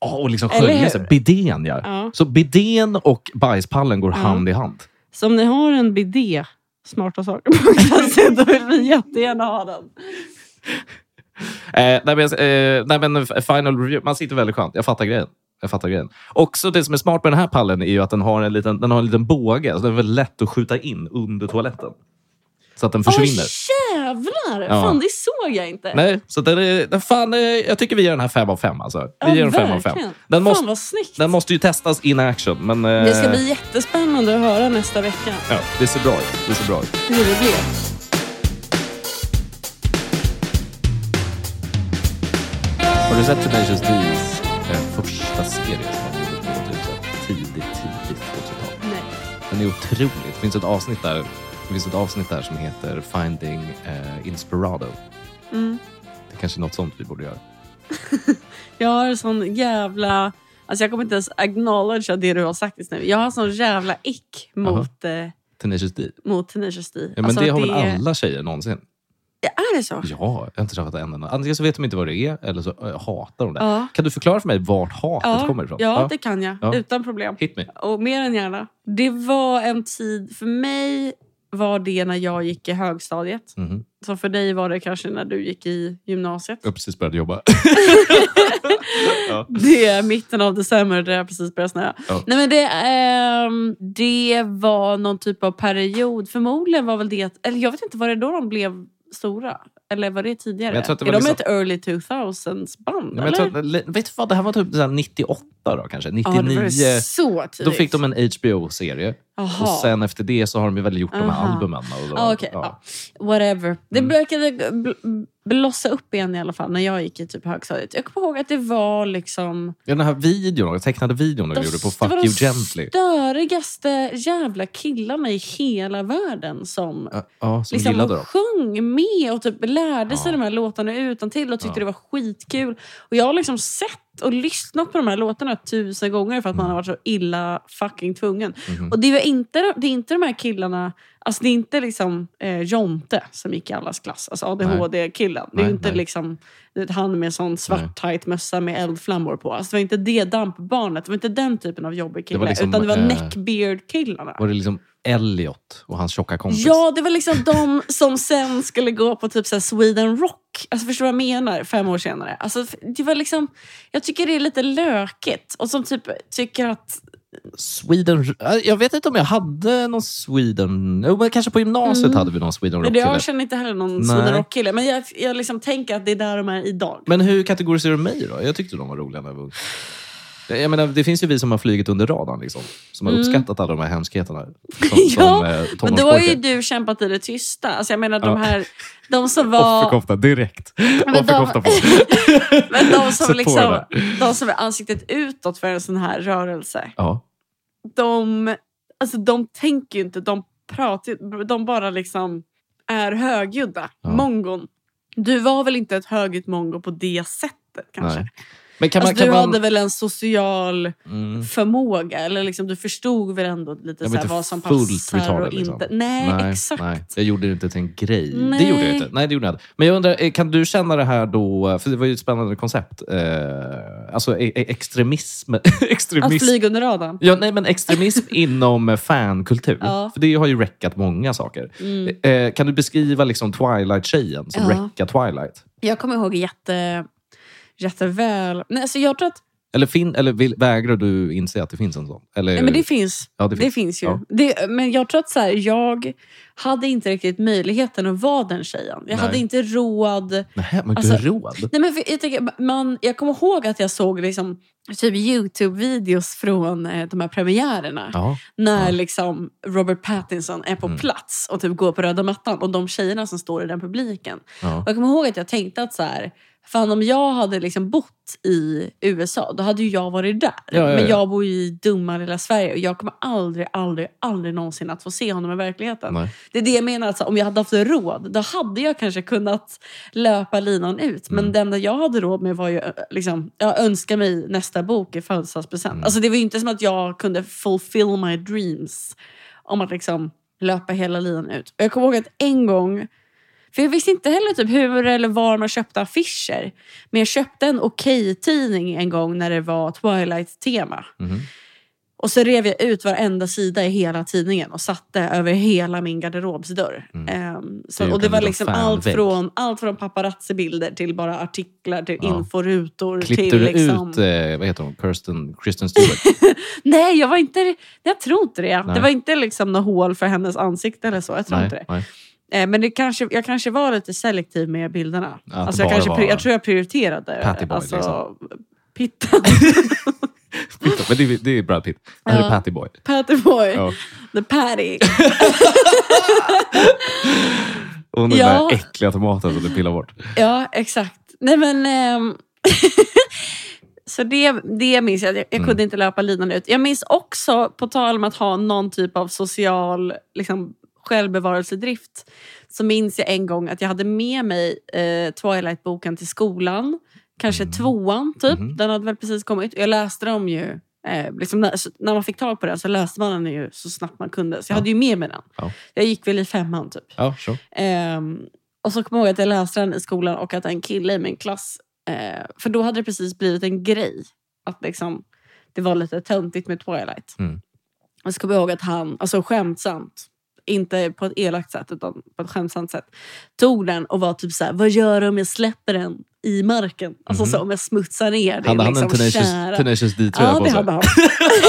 S1: Ja, och liksom
S2: Eller hur?
S1: skölja sig. Bidén, ja.
S2: Ja.
S1: Så bidén och bajspallen går
S2: Ja.
S1: hand i hand.
S2: Så om ni har en bidé, smarta saker, då vill vi jättegärna ha den.
S1: Eh, nej, men, eh, nej, men f- final review. Man sitter väldigt skönt. Jag fattar grejen. Jag fattar grejen. Också det som är smart med den här pallen är ju att den har en liten, den har en liten båge. Så den är väldigt lätt att skjuta in under toaletten. Så att den försvinner.
S2: Åh jävlar!
S1: Ja.
S2: Fan, det såg jag inte.
S1: nej, så den är, den fan, eh, jag tycker vi ger den här fem av fem Alltså. Vi
S2: Ja,
S1: ger den fem av fem
S2: verkligen.
S1: Den måste,
S2: Fan vad snyggt.
S1: den måste ju testas in action. Men, eh,
S2: Det ska bli jättespännande att höra nästa vecka
S1: ja, det ser bra ut. Det ser bra ut.
S2: hur det blev.
S1: Har du sett Tenacious D's eh, första serie som man gjorde på typ tidigt, tidigt 2000-tal?
S2: Nej.
S1: Den är otrolig. Det finns ett avsnitt där, det finns ett avsnitt där som heter Finding eh, Inspirado.
S2: Mm.
S1: Det är kanske är något sånt vi borde göra.
S2: Jag har sån jävla... Alltså jag kommer inte ens acknowledgea det du har sagt just nu. Jag har sån jävla ick mot, eh,
S1: Tenacious D.
S2: mot Tenacious D.
S1: Ja, men
S2: alltså
S1: det
S2: att
S1: har väl
S2: är-
S1: alla tjejer någonsin?
S2: Ja, Är det så?
S1: Ja, jag har inte träffat en enda. Antingen så vet de inte vad det är eller så eh, hatar de det.
S2: Ja.
S1: Kan du förklara för mig vart hatet
S2: Ja,
S1: kommer ifrån?
S2: ja, det kan jag.
S1: Ja.
S2: Utan problem.
S1: Hit me.
S2: Och mer än gärna. Det var en tid... För mig var det när jag gick i högstadiet.
S1: Mhm.
S2: Så för dig var det kanske när du gick i gymnasiet.
S1: Jag har precis börjat jobba. ja.
S2: Det är mitten av december där jag precis började snöa.
S1: Ja.
S2: Nej, men det, ehm, det var någon typ av period. Förmodligen var väl det... Eller jag vet inte, var det då de blev stora? Eller var det tidigare?
S1: Men jag tror att det
S2: är
S1: var
S2: de
S1: liksom-
S2: ett early 2000s-band?
S1: Ja, men
S2: eller?
S1: jag tror, att- vet du vad, det här var typ så här 98 då kanske?
S2: Ja,
S1: 99.
S2: det var så tidigt.
S1: då fick de en HBO-serie.
S2: Aha.
S1: Och sen efter det så har de ju väl gjort de här
S2: Aha.
S1: albumen. Och då,
S2: Ah, okej, ja. Whatever. Det
S1: Mm.
S2: brukade bl- blossa upp igen i alla fall när jag gick i typ högstadiet. Jag kommer ihåg att det var liksom...
S1: Ja, den här videon, den tecknade videon de
S2: De-
S1: gjorde på
S2: det
S1: Fuck
S2: var
S1: You
S2: de
S1: Gently.
S2: störigaste jävla killarna i hela världen som
S1: Ja, ja, som
S2: liksom
S1: gillade dem.
S2: sjöng med och typ lärde sig
S1: Ja.
S2: de här låtarna utan till och tyckte
S1: Ja.
S2: det var skitkul. Och jag har liksom sett och lyssnat på de här låtarna tusen gånger för att man
S1: Mm.
S2: har varit så illa fucking tvungen.
S1: Mhm.
S2: Och det är inte, det är inte de här killarna, alltså det är inte liksom eh, Jonte som gick i allas klass, alltså ADHD-killen. Det är
S1: Nej,
S2: ju inte
S1: nej.
S2: liksom du vet, han med sån svart tight mössa med eldflammor på. Alltså det var inte det dampbarnet, det var inte den typen av jobbig
S1: Det
S2: kille.
S1: var liksom,
S2: utan det var
S1: eh,
S2: neckbeard-killarna.
S1: Var det liksom Elliot och hans tjocka kompis?
S2: Ja, det var liksom de som sen skulle gå på typ så här Sweden Rock. Alltså förstår du vad jag menar? Fem år senare. Alltså, det var liksom, jag tycker det är lite lökigt. Och som typ tycker att
S1: Sweden... Jag vet inte om jag hade någon Sweden... Jo, men kanske på gymnasiet
S2: Mm.
S1: hade vi någon Sweden
S2: Men
S1: Rock.
S2: jag
S1: Men,
S2: känner inte heller någon
S1: Nej.
S2: Sweden Rock-kille. Men jag, jag liksom tänker att det är där de är idag.
S1: men hur kategoriserar du mig då? Jag tyckte de var roliga när jag var ung. Jag menar, det finns ju vi som har flugit under radarn, liksom, som har
S2: Mm.
S1: uppskattat alla de här hemskheterna. Som,
S2: Ja,
S1: som, eh,
S2: Men då har ju
S1: tonårspojkar.
S2: du kämpat i det tysta. Alltså jag menar de
S1: Ja.
S2: här, de som var...
S1: Offerkofta direkt.
S2: Men de-
S1: Offerkofta på.
S2: Men de
S1: Sätt på
S2: som,
S1: det
S2: liksom,
S1: där.
S2: de som är ansiktet utåt för en sån här rörelse.
S1: Ja.
S2: De, alltså de tänker ju inte, de pratar ju- de bara liksom är högljudda.
S1: Ja.
S2: Mongon. Du var väl inte ett högljutt mongo på det sättet kanske?
S1: Nej. Men kan man...
S2: alltså,
S1: Kan
S2: du
S1: man...
S2: hade väl en social
S1: Mm.
S2: förmåga? Eller liksom, du förstod väl ändå lite
S1: Jag var
S2: så här,
S1: inte
S2: vad som
S1: fullt
S2: passar och
S1: retarded,
S2: inte?
S1: liksom.
S2: Nej, exakt.
S1: nej. jag gjorde det inte till en grej.
S2: Nej.
S1: Det gjorde jag inte. Nej, det gjorde jag inte. Men jag undrar, eh, kan du känna det här då, för det var ju ett spännande koncept, eh, alltså e- e- extremism.
S2: Att
S1: extremism.
S2: flyga under radarn.
S1: Ja, nej, men extremism inom eh, fankultur.
S2: Ja.
S1: För det har ju räckat många saker.
S2: Mm.
S1: Eh, kan du beskriva liksom Twilight-tjejen som
S2: Ja.
S1: räckar Twilight?
S2: Jag kommer ihåg jätte, jätteväl. Nej, alltså jag tror att
S1: Eller, fin, eller vill, vägrar du inse att det finns en sån? Eller,
S2: nej, men det finns.
S1: ja, det
S2: Det
S1: finns.
S2: finns ju.
S1: Ja.
S2: Det, men jag tror att så här, jag hade inte riktigt möjligheten att vara den tjejen. Jag
S1: Nej.
S2: hade inte råd.
S1: Nähä, men
S2: Alltså-
S1: du har råd?
S2: Nej, men för, jag, tänker, man, jag kommer ihåg att jag såg liksom, typ Youtube-videos från eh, de här premiärerna.
S1: Ja.
S2: När
S1: Ja.
S2: liksom Robert Pattinson är på
S1: Mm.
S2: plats och typ går på röda mattan och de tjejerna som står i den publiken.
S1: ja.
S2: Och jag kommer ihåg att jag tänkte att så här, fan om jag hade liksom bott i USA, då hade ju jag varit där.
S1: Ja, ja,
S2: Men
S1: ja.
S2: jag bor ju i dumma lilla Sverige och jag kommer aldrig, aldrig, aldrig någonsin att få se honom i verkligheten.
S1: Nej.
S2: Det är det jag menar, alltså, om jag hade haft råd, då hade jag kanske kunnat löpa linan ut. Men
S1: Mm.
S2: det enda jag hade råd med var ju, ö- liksom, jag önskar mig nästa bok i födelsedagspresent.
S1: Mm.
S2: Alltså det var ju inte som att jag kunde fulfill my dreams om att liksom löpa hela linan ut. Och jag kommer ihåg att en gång, för jag visste inte heller typ hur eller var man köpte affischer. Men jag köpte en okej-tidning en gång när det var Twilight-tema.
S1: Mhm.
S2: Och så rev jag ut varenda sida i hela tidningen och satte över hela min garderobsdörr.
S1: Mm.
S2: Ehm, så,
S1: Det är ju
S2: och det
S1: en
S2: var
S1: liten
S2: liksom allt
S1: fanvägg.
S2: från, allt från paparazzi-bilder till bara artiklar, till
S1: Ja.
S2: inforutor.
S1: Klippte
S2: till
S1: du
S2: liksom...
S1: ut, eh, vad heter hon, Kirsten, Kristen Stewart?
S2: Nej, jag var inte... Jag tror inte det. Det
S1: Nej.
S2: var inte liksom något hål för hennes ansikte eller så. Jag tror
S1: nej,
S2: inte det.
S1: nej.
S2: Eh, men det kanske, jag kanske var lite selektiv med bilderna.
S1: det
S2: Alltså jag,
S1: bara
S2: kanske,
S1: var-
S2: pri- jag tror jag prioriterade.
S1: Patty boy,
S2: alltså,
S1: liksom.
S2: Pitta.
S1: Pitt, Men det, är- det är Brad Pitt. Det här
S2: Ja.
S1: är Patty Boy.
S2: Patty boy.
S1: Ja.
S2: The patty.
S1: Och den
S2: Ja.
S1: där äckliga tomaten som du pillar bort.
S2: Ja, exakt. Nej men... ehm, så det, det minns jag. Jag, jag kunde
S1: Mm.
S2: inte löpa linan ut. Jag minns också, på tal om att ha någon typ av social liksom, självbevarelsedrift, så minns jag en gång att jag hade med mig eh, Twilight-boken till skolan. Kanske
S1: Mm.
S2: tvåan, typ.
S1: Mhm.
S2: Den hade väl precis kommit. Jag läste dem ju. Eh, liksom när, så, när man fick tag på den så läste man den ju så snabbt man kunde. Så jag
S1: Ja.
S2: hade ju med mig den.
S1: Ja.
S2: Jag gick väl i femman, typ.
S1: Ja, sure.
S2: Ehm, och så kommer jag ihåg att jag läste den i skolan och att en kille i min klass, eh, för då hade det precis blivit en grej att liksom, det var lite töntigt med Twilight.
S1: Mm.
S2: Och så kommer jag ihåg att han, alltså skämtsamt, inte på ett elakt sätt utan på ett skämtsamt sätt, tog den och var typ så här: vad gör du om jag släpper den i marken? Alltså
S1: Mhm.
S2: så, om jag smutsar ner
S1: Hade
S2: din
S1: han en
S2: liksom
S1: Tenacious,
S2: kära.
S1: tenacious D-tröja
S2: Ja,
S1: på
S2: det
S1: sig?
S2: hade han.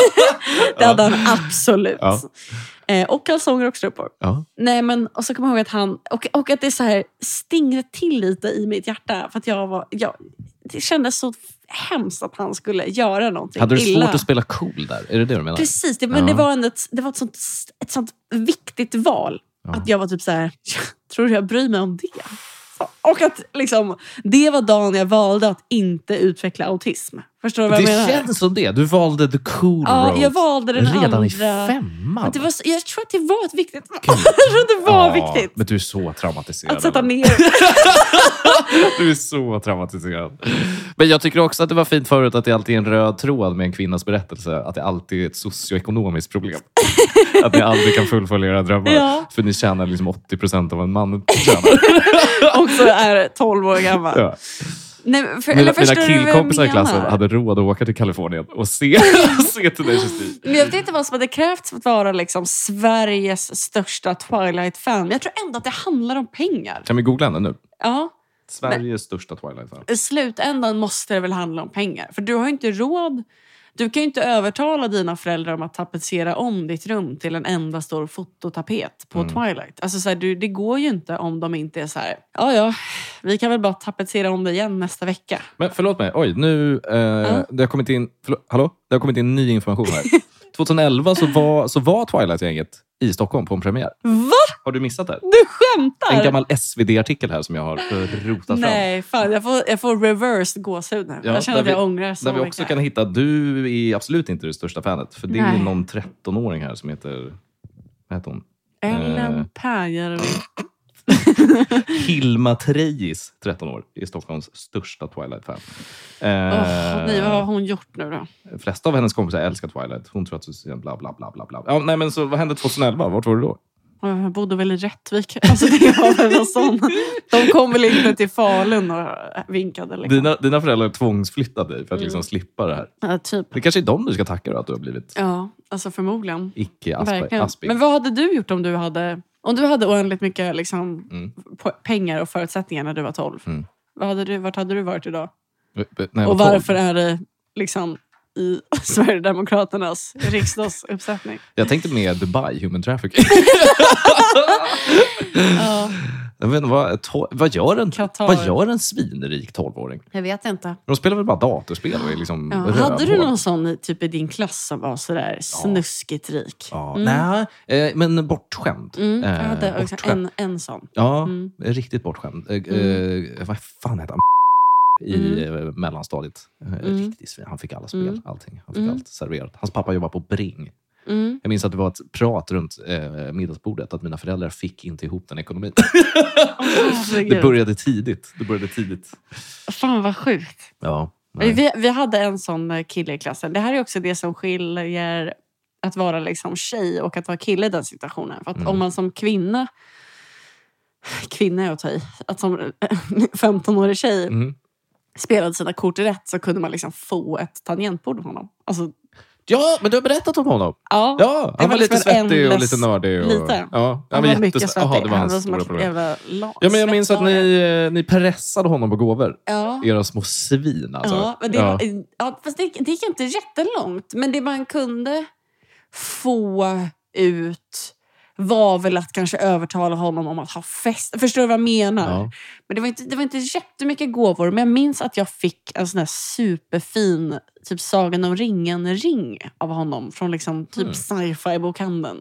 S2: det hade han absolut.
S1: Ja.
S2: Eh, och kalsonger och strumpor.
S1: Ja.
S2: Nej, men och så kommer jag ihåg att han... Och, och att det så här stingrade till lite i mitt hjärta. För att jag var... Jag, det kändes så hemskt att han skulle göra någonting
S1: Hade du
S2: illa.
S1: svårt att spela cool där? Är det det du menar?
S2: Precis, det, men
S1: Ja.
S2: det var, ändå ett, det var ett, sånt, ett sånt viktigt val.
S1: Ja.
S2: Att jag var typ så här, tror du jag bryr mig om det? Så, Och att liksom, det var dagen jag valde att inte utveckla autism. Förstår du vad jag
S1: det
S2: menar?
S1: känns som det. Du valde the cool
S2: Ja,
S1: road.
S2: jag valde den
S1: Redan
S2: andra.
S1: i femman?
S2: Att Det var, så- jag tror att det var ett viktigt val.
S1: Gud.
S2: Jag tror att det var
S1: Ja,
S2: viktigt.
S1: Men du är så traumatiserad.
S2: Att sätta
S1: av det.
S2: ner
S1: Du är så traumatiserad. Men jag tycker också att det var fint förut att det alltid är en röd tråd med en kvinnas berättelse. Att det alltid är ett socioekonomiskt problem. Att ni aldrig kan fullfölja era drömmar.
S2: Ja.
S1: För ni tjänar liksom 80 procent av vad en man tjänar.
S2: och så är 12 år gammal.
S1: Ja.
S2: Nej, men för,
S1: Mina, mina
S2: eller förstår du vad jag
S1: killkompisar i klassen
S2: menar?
S1: hade råd att åka till Kalifornien och se, se Tenacious D.
S2: Men jag vet inte vad som hade krävts för att vara liksom Sveriges största Twilight-fan. Men jag tror ändå att det handlar om pengar.
S1: Kan vi googla henne nu?
S2: Ja,
S1: Sveriges största Twilight-fan.
S2: I slutändan måste det väl handla om pengar. För du har ju inte råd. Du kan ju inte övertala dina föräldrar om att tapetsera om ditt rum till en enda stor fototapet på
S1: Mm.
S2: Twilight. Alltså så här, du, det går ju inte om de inte är så här, ja ja, vi kan väl bara tapetsera om det igen nästa vecka.
S1: Men förlåt mig. Oj, nu... Eh, Det har kommit in... Förlåt, hallå? Det har kommit in ny information här. 2011 så var, så var Twilight-gänget i Stockholm på en premiär.
S2: Va?
S1: Har du missat det?
S2: Du skämtar?
S1: En gammal SvD-artikel här som jag har eh, rotat fram.
S2: Nej, fan jag får, jag får reversed gåshud nu.
S1: Ja,
S2: jag känner att
S1: där
S2: jag
S1: vi-
S2: ångrar så
S1: Där vi
S2: mycket.
S1: också kan hitta, du är absolut inte det största fanet. För det är
S2: Nej.
S1: någon 13-åring här som heter... Vad heter hon? Eh.
S2: Ellen Pääjärvi.
S1: Hilma Trejis, 13 år, är Stockholms största Twilight-fan.
S2: Åh, nej, vad har
S1: Eh,
S2: hon gjort nu då?
S1: de flesta av hennes kompisar älskar Twilight. Hon tror att det är bla, bla, bla, bla, bla. Ja, nej, men så, vad hände 2011? Vart var du då?
S2: Jag bodde väl i Rättvik. Alltså, det var väl någon sån. De kom väl inte till Falun och vinkade. Liksom.
S1: Dina, dina föräldrar tvångsflyttade dig för att
S2: Mm.
S1: liksom slippa det här.
S2: Ja, typ.
S1: Det kanske är dem du ska tacka då, att du har blivit
S2: Ja, alltså förmodligen. Verkligen.
S1: icke-aspig.
S2: Men vad hade du gjort om du hade, om du hade oändligt mycket liksom,
S1: Mm.
S2: po- pengar och förutsättningar när du var 12?
S1: Mm.
S2: Vad hade du, vart hade du varit idag?
S1: När jag
S2: Och
S1: var tolv.
S2: varför är det liksom i Sverigedemokraternas riksdagsuppsättning?
S1: Jag tänkte mer Dubai, human trafficking.
S2: Ja,
S1: jag vet inte, vad, to- vad, gör en,
S2: Qatar.
S1: vad gör en svinrik 12-åring?
S2: Jag vet inte.
S1: De spelar väl bara datorspel och är liksom
S2: Ja. Hade du
S1: rövhål.
S2: någon sån i- typ i din klass som var sådär snuskigt rik?
S1: Ja,
S2: Mm.
S1: Nej, eh, men bortskämd.
S2: Mm, jag
S1: Eh,
S2: hade också
S1: bortskämd.
S2: en, en sån.
S1: Ja,
S2: Mm.
S1: riktigt bortskämd. Eh, eh, vad fan hette han? I eh, mellanstadiet. Eh, Riktigt svin. Han fick alla spel,
S2: Mm.
S1: allting. Han fick
S2: Mm.
S1: allt serverat. Hans pappa jobbade på Bring.
S2: Mm.
S1: Jag minns att det var ett prat runt eh, middagsbordet att mina föräldrar fick inte ihop den ekonomin. det
S2: Herregud.
S1: började tidigt. Det började tidigt.
S2: Fan vad sjukt.
S1: Ja. nej.
S2: Vi, vi hade en sån eh, kille i klassen. Det här är också det som skiljer att vara liksom tjej och att vara kille i den situationen. För att
S1: Mm.
S2: om man som kvinna, kvinna är att ta i, att som eh, 15-årig tjej
S1: Mm.
S2: spelade sina kort rätt så kunde man liksom få ett tangentbord av honom. Alltså,
S1: Ja, men du har berättat om honom.
S2: ja,
S1: Ja, han
S2: var
S1: var, lite
S2: liksom en
S1: svettig och
S2: endless-
S1: lite nördig. Och,
S2: lite.
S1: Ja,
S2: han
S1: men
S2: var mycket
S1: jättesve-
S2: svettig.
S1: Jaha, det var
S2: han var
S1: hans
S2: som
S1: stora
S2: ett
S1: problem.
S2: jävla lag.
S1: Ja, men jag minns att
S2: svettare.
S1: ni, eh, ni pressade honom på gåvor.
S2: Ja.
S1: Era små svin alltså.
S2: Ja, men det,
S1: Ja.
S2: var- ja, fast det, det gick inte jättelångt. Men det man kunde få ut var väl att kanske övertala honom om att ha fest. Förstår du vad jag menar?
S1: Ja.
S2: Men det var, inte, det var inte jättemycket gåvor. Men jag minns att jag fick en sån här superfin typ Sagan om ringen-ring av honom från liksom typ
S1: Mm.
S2: sci-fi-bokhandeln.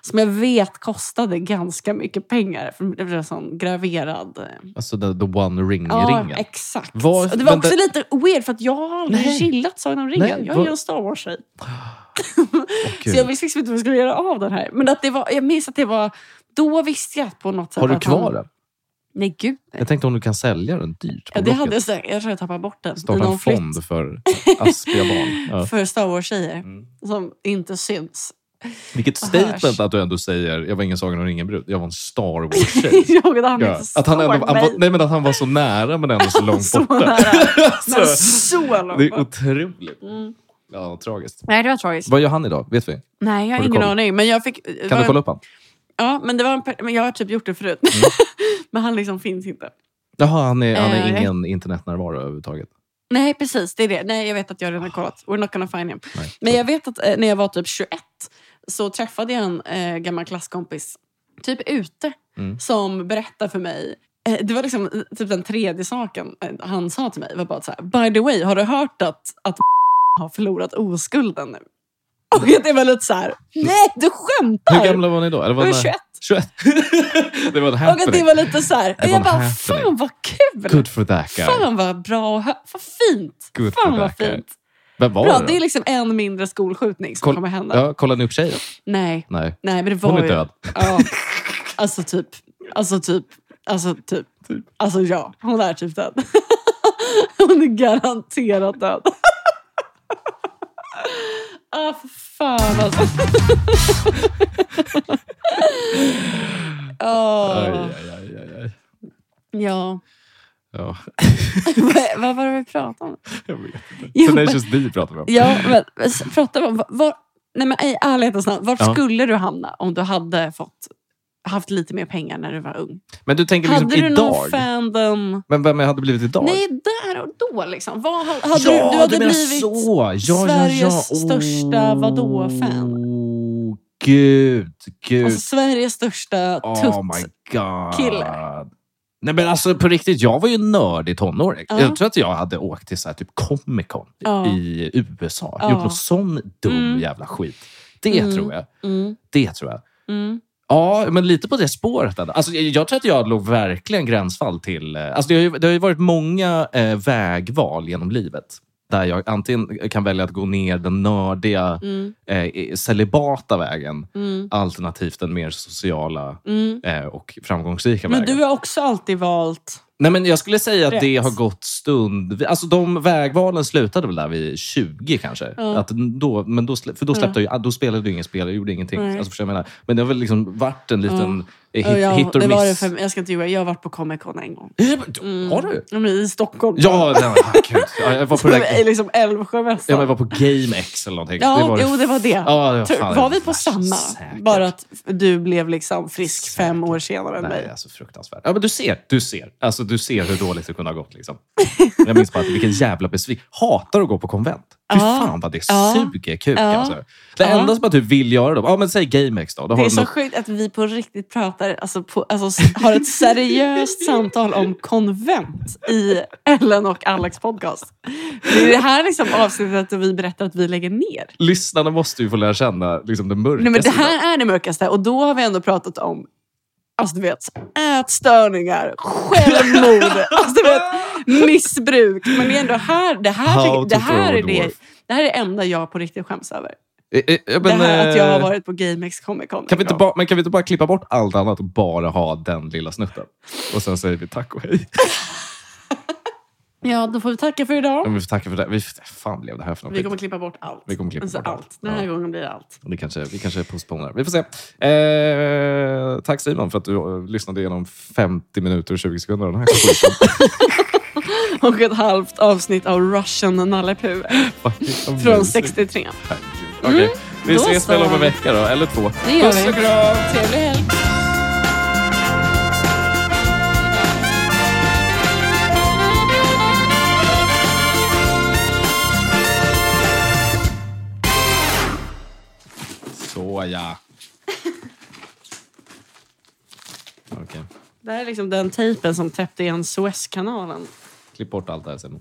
S2: Som jag vet kostade ganska mycket pengar. För det var en sån graverad... eh,
S1: Alltså the, the one
S2: Ja,
S1: ring-ringen.
S2: exakt.
S1: Var-
S2: och det var
S1: men
S2: också
S1: det-
S2: lite weird för att jag har aldrig
S1: Nej.
S2: gillat Sagan om ringen.
S1: Nej,
S2: jag är
S1: var-
S2: ju en Star Wars-tjej.
S1: Åh,
S2: Så
S1: gud.
S2: jag visste liksom inte vad jag skulle göra av den här. Men att det var, jag minns att det var... Då visste jag på något sätt
S1: Har du
S2: att han-
S1: kvar den?
S2: Nej, gud nej.
S1: Jag tänkte om du kan sälja den dyrt på
S2: Ja, det
S1: Blocket.
S2: hade jag, säkert- jag tror jag tappade bort den. i
S1: Starta en
S2: någon flytt
S1: fond för aspiga barn. Ja.
S2: För Star Wars-tjejer
S1: Mm.
S2: som inte syns.
S1: Vilket
S2: Vad
S1: statement
S2: hörs.
S1: att du ändå säger, jag var ingen Sagan om ringen-brud, jag var en Star Wars-tjej.
S2: Jag han
S1: Ja.
S2: inte
S1: Att han, ändå,
S2: såg
S1: han, var,
S2: mig.
S1: nej, men att han var så nära men ändå så långt
S2: Så
S1: borta.
S2: nära. Men
S1: så,
S2: så långt
S1: det är
S2: bort.
S1: otroligt.
S2: Mm.
S1: Ja, tragiskt.
S2: Nej, det var tragiskt.
S1: Vad gör han idag? Vet vi? Kan
S2: Nej, jag
S1: Har du
S2: har ingen
S1: koll?
S2: aning. Men jag fick... var-
S1: du kolla upp Mm. han?
S2: Ja, men, det var en per- men jag har typ gjort det förut. men han liksom finns inte.
S1: Jaha, han är, han är
S2: Eh.
S1: ingen internetnärvaro överhuvudtaget.
S2: Nej, precis. Det är det. Nej, jag vet att jag redan har kollat. We're not gonna find him.
S1: Ah. Nej.
S2: Men jag vet att eh, när jag var typ 21 så träffade jag en eh, gammal klasskompis, typ ute,
S1: Mm.
S2: som berättade för mig eh, det var liksom eh, typ den tredje saken eh, han sa till mig. var bara så här, By the way, har du hört att, att har förlorat oskulden nu? Och det var lite så här, nej du skämtar!
S1: Hur gamla var ni då? Eller var
S2: Jag var
S1: ni-
S2: 21.
S1: 21. det var en
S2: Och att det
S1: happening.
S2: var lite så här,
S1: var
S2: jag
S1: en
S2: bara,
S1: happening.
S2: fan vad kul!
S1: Good for that guy.
S2: Fan vad bra och hö- vad fint!
S1: Good
S2: Fan
S1: for
S2: vad
S1: that guy.
S2: fint!
S1: Vem var
S2: Bra,
S1: det då?
S2: det är liksom en mindre skolskjutning som
S1: Koll-
S2: kommer hända.
S1: ja, Kollade ni upp tjejen?
S2: Nej,
S1: Nej.
S2: nej men det var
S1: Hon är
S2: ju...
S1: död.
S2: Ja. Alltså typ, alltså typ, alltså typ, alltså ja, hon är typ död. Hon är garanterat död. Ah, för fan alltså.
S1: Aj,
S2: Åh,
S1: aj, aj, aj, aj.
S2: Ah. ja.
S1: Ja,
S2: Vad- Vad var det vi pratade om?
S1: jag vet inte.
S2: Jo,
S1: Tenacious D pratar vi om.
S2: Ja, men s- prata om... Var, nej, men i ärlighetens namn, var
S1: Ja.
S2: skulle du hamna om du hade fått haft lite mer pengar när du var ung.
S1: Men du tänker liksom
S2: hade du någon
S1: idag?
S2: fandom?
S1: Men vem jag hade blivit idag?
S2: Nej, där och då liksom. Vad, ha- hade
S1: ja,
S2: du, du hade
S1: menar
S2: blivit...
S1: så. Ja, ja, ja.
S2: Sveriges största vadå-fan?
S1: Åh, Gud, gud.
S2: Alltså, Sveriges största tutt.
S1: oh my god.
S2: kille.
S1: Nej men alltså på riktigt, jag var ju nörd i tonåring.
S2: Ja.
S1: Jag tror att jag hade åkt till så här, typ Comic Con
S2: Ja.
S1: i USA.
S2: Ja.
S1: Gjort någon sån dum
S2: Mm.
S1: jävla skit. Det
S2: Mm.
S1: tror jag.
S2: Mm,
S1: Det tror jag.
S2: mm.
S1: Ja, men lite på det spåret. ändå. Alltså, jag, jag tror att jag låg verkligen gränsfall till... eh, Alltså, det, har ju, det har ju varit många eh, vägval genom livet. Där jag antingen kan välja att gå ner den nördiga,
S2: Mm,
S1: eh, celibata vägen.
S2: mm,
S1: Alternativt den mer sociala
S2: mm.
S1: eh, och framgångsrika
S2: Men
S1: vägen.
S2: du har också alltid valt...
S1: Nej, men jag skulle säga att det
S2: Rätt.
S1: har gått stund... Alltså, de vägvalen slutade väl där vid 20 kanske.
S2: Ja.
S1: Att då, men då, slä- för då, släppte jag, ju- då spelade du inget spel, jag gjorde ingenting.
S2: Nej.
S1: Alltså, förstår jag vad jag menar? Men det har väl liksom varit en liten eh, hit,
S2: Ja, jag,
S1: hit or
S2: det var det
S1: miss.
S2: för, jag ska inte ljuga, jag har varit på Comic Con en gång.
S1: Ja, men,
S2: Mm.
S1: Har du?
S2: Ja, men I Stockholm.
S1: Ja, nej, men, gud. Ja, jag var på, det där-
S2: I liksom Älvsjömässan.
S1: ja, men jag var på GameX eller någonting.
S2: Ja,
S1: det var,
S2: jo, det var det.
S1: Ja, det var,
S2: Tur,
S1: fan
S2: var
S1: det
S2: vi på
S1: värsta.
S2: samma?
S1: Säkert.
S2: Bara att du blev liksom frisk fem
S1: Säkert.
S2: år senare än
S1: Nej,
S2: mig.
S1: alltså fruktansvärt. Ja, men du ser, du ser. Alltså, du ser hur dåligt det kunde ha gått. Liksom. Jag minns bara att vilken jävla besvikelse. Hatar att gå på konvent. Fy
S2: Ja.
S1: fan vad det
S2: Ja.
S1: suger kuk.
S2: Ja.
S1: Alltså. Det
S2: Ja.
S1: enda som att du vill göra då, ja men säg GameX då. då
S2: Det
S1: har
S2: är
S1: de
S2: så
S1: något-
S2: sjukt att vi på riktigt pratar, alltså, på, alltså s- har ett seriöst samtal om konvent i Ellen och Alex podcast. Det är det här liksom avsnittet där vi berättar att vi lägger ner.
S1: Lyssnarna måste ju få lära känna liksom, den mörka
S2: Nej, men det
S1: sidan.
S2: här är det mörkaste och då har vi ändå pratat om Alltså du vet, ätstörningar, självmord, alltså, du vet, missbruk. Men det är ändå här, det här,
S1: How
S2: det
S1: to
S2: här,
S1: throw a
S2: är, det,
S1: dwarf.
S2: det här är det enda jag på riktigt skäms över.
S1: Eh, eh, men,
S2: det här att jag har
S1: eh,
S2: varit på GameX Comic Con.
S1: Kan vi, inte bara, men kan vi inte bara klippa bort allt annat och bara ha den lilla snutten? Och sen säger vi tack och hej.
S2: Ja, då får vi tacka för idag.
S1: Men vi får tacka för det. Vi, fan blev det här för något?
S2: Vi kommer klippa bort allt.
S1: Vi kommer klippa
S2: alltså
S1: bort allt.
S2: allt. Den här
S1: Ja.
S2: gången blir det allt.
S1: Det kanske, vi kanske postponerar. Vi får se. Eh, tack Simon för att du eh, lyssnade igenom 50 minuter och 20 sekunder av den här skiten.
S2: Och ett halvt avsnitt av Russian Nalle Puh
S1: Fucking
S2: från
S1: amazing.
S2: 63.
S1: Herregud. Okej, vi
S2: då
S1: ses
S2: så.
S1: väl om en vecka då, eller två.
S2: Det gör vi.
S1: och kram!
S2: Trevlig helg!
S1: Så ja. Okej,
S2: Det här är liksom den tejpen som täppte igen Suezkanalen.
S1: klipp bort allt det här Simon.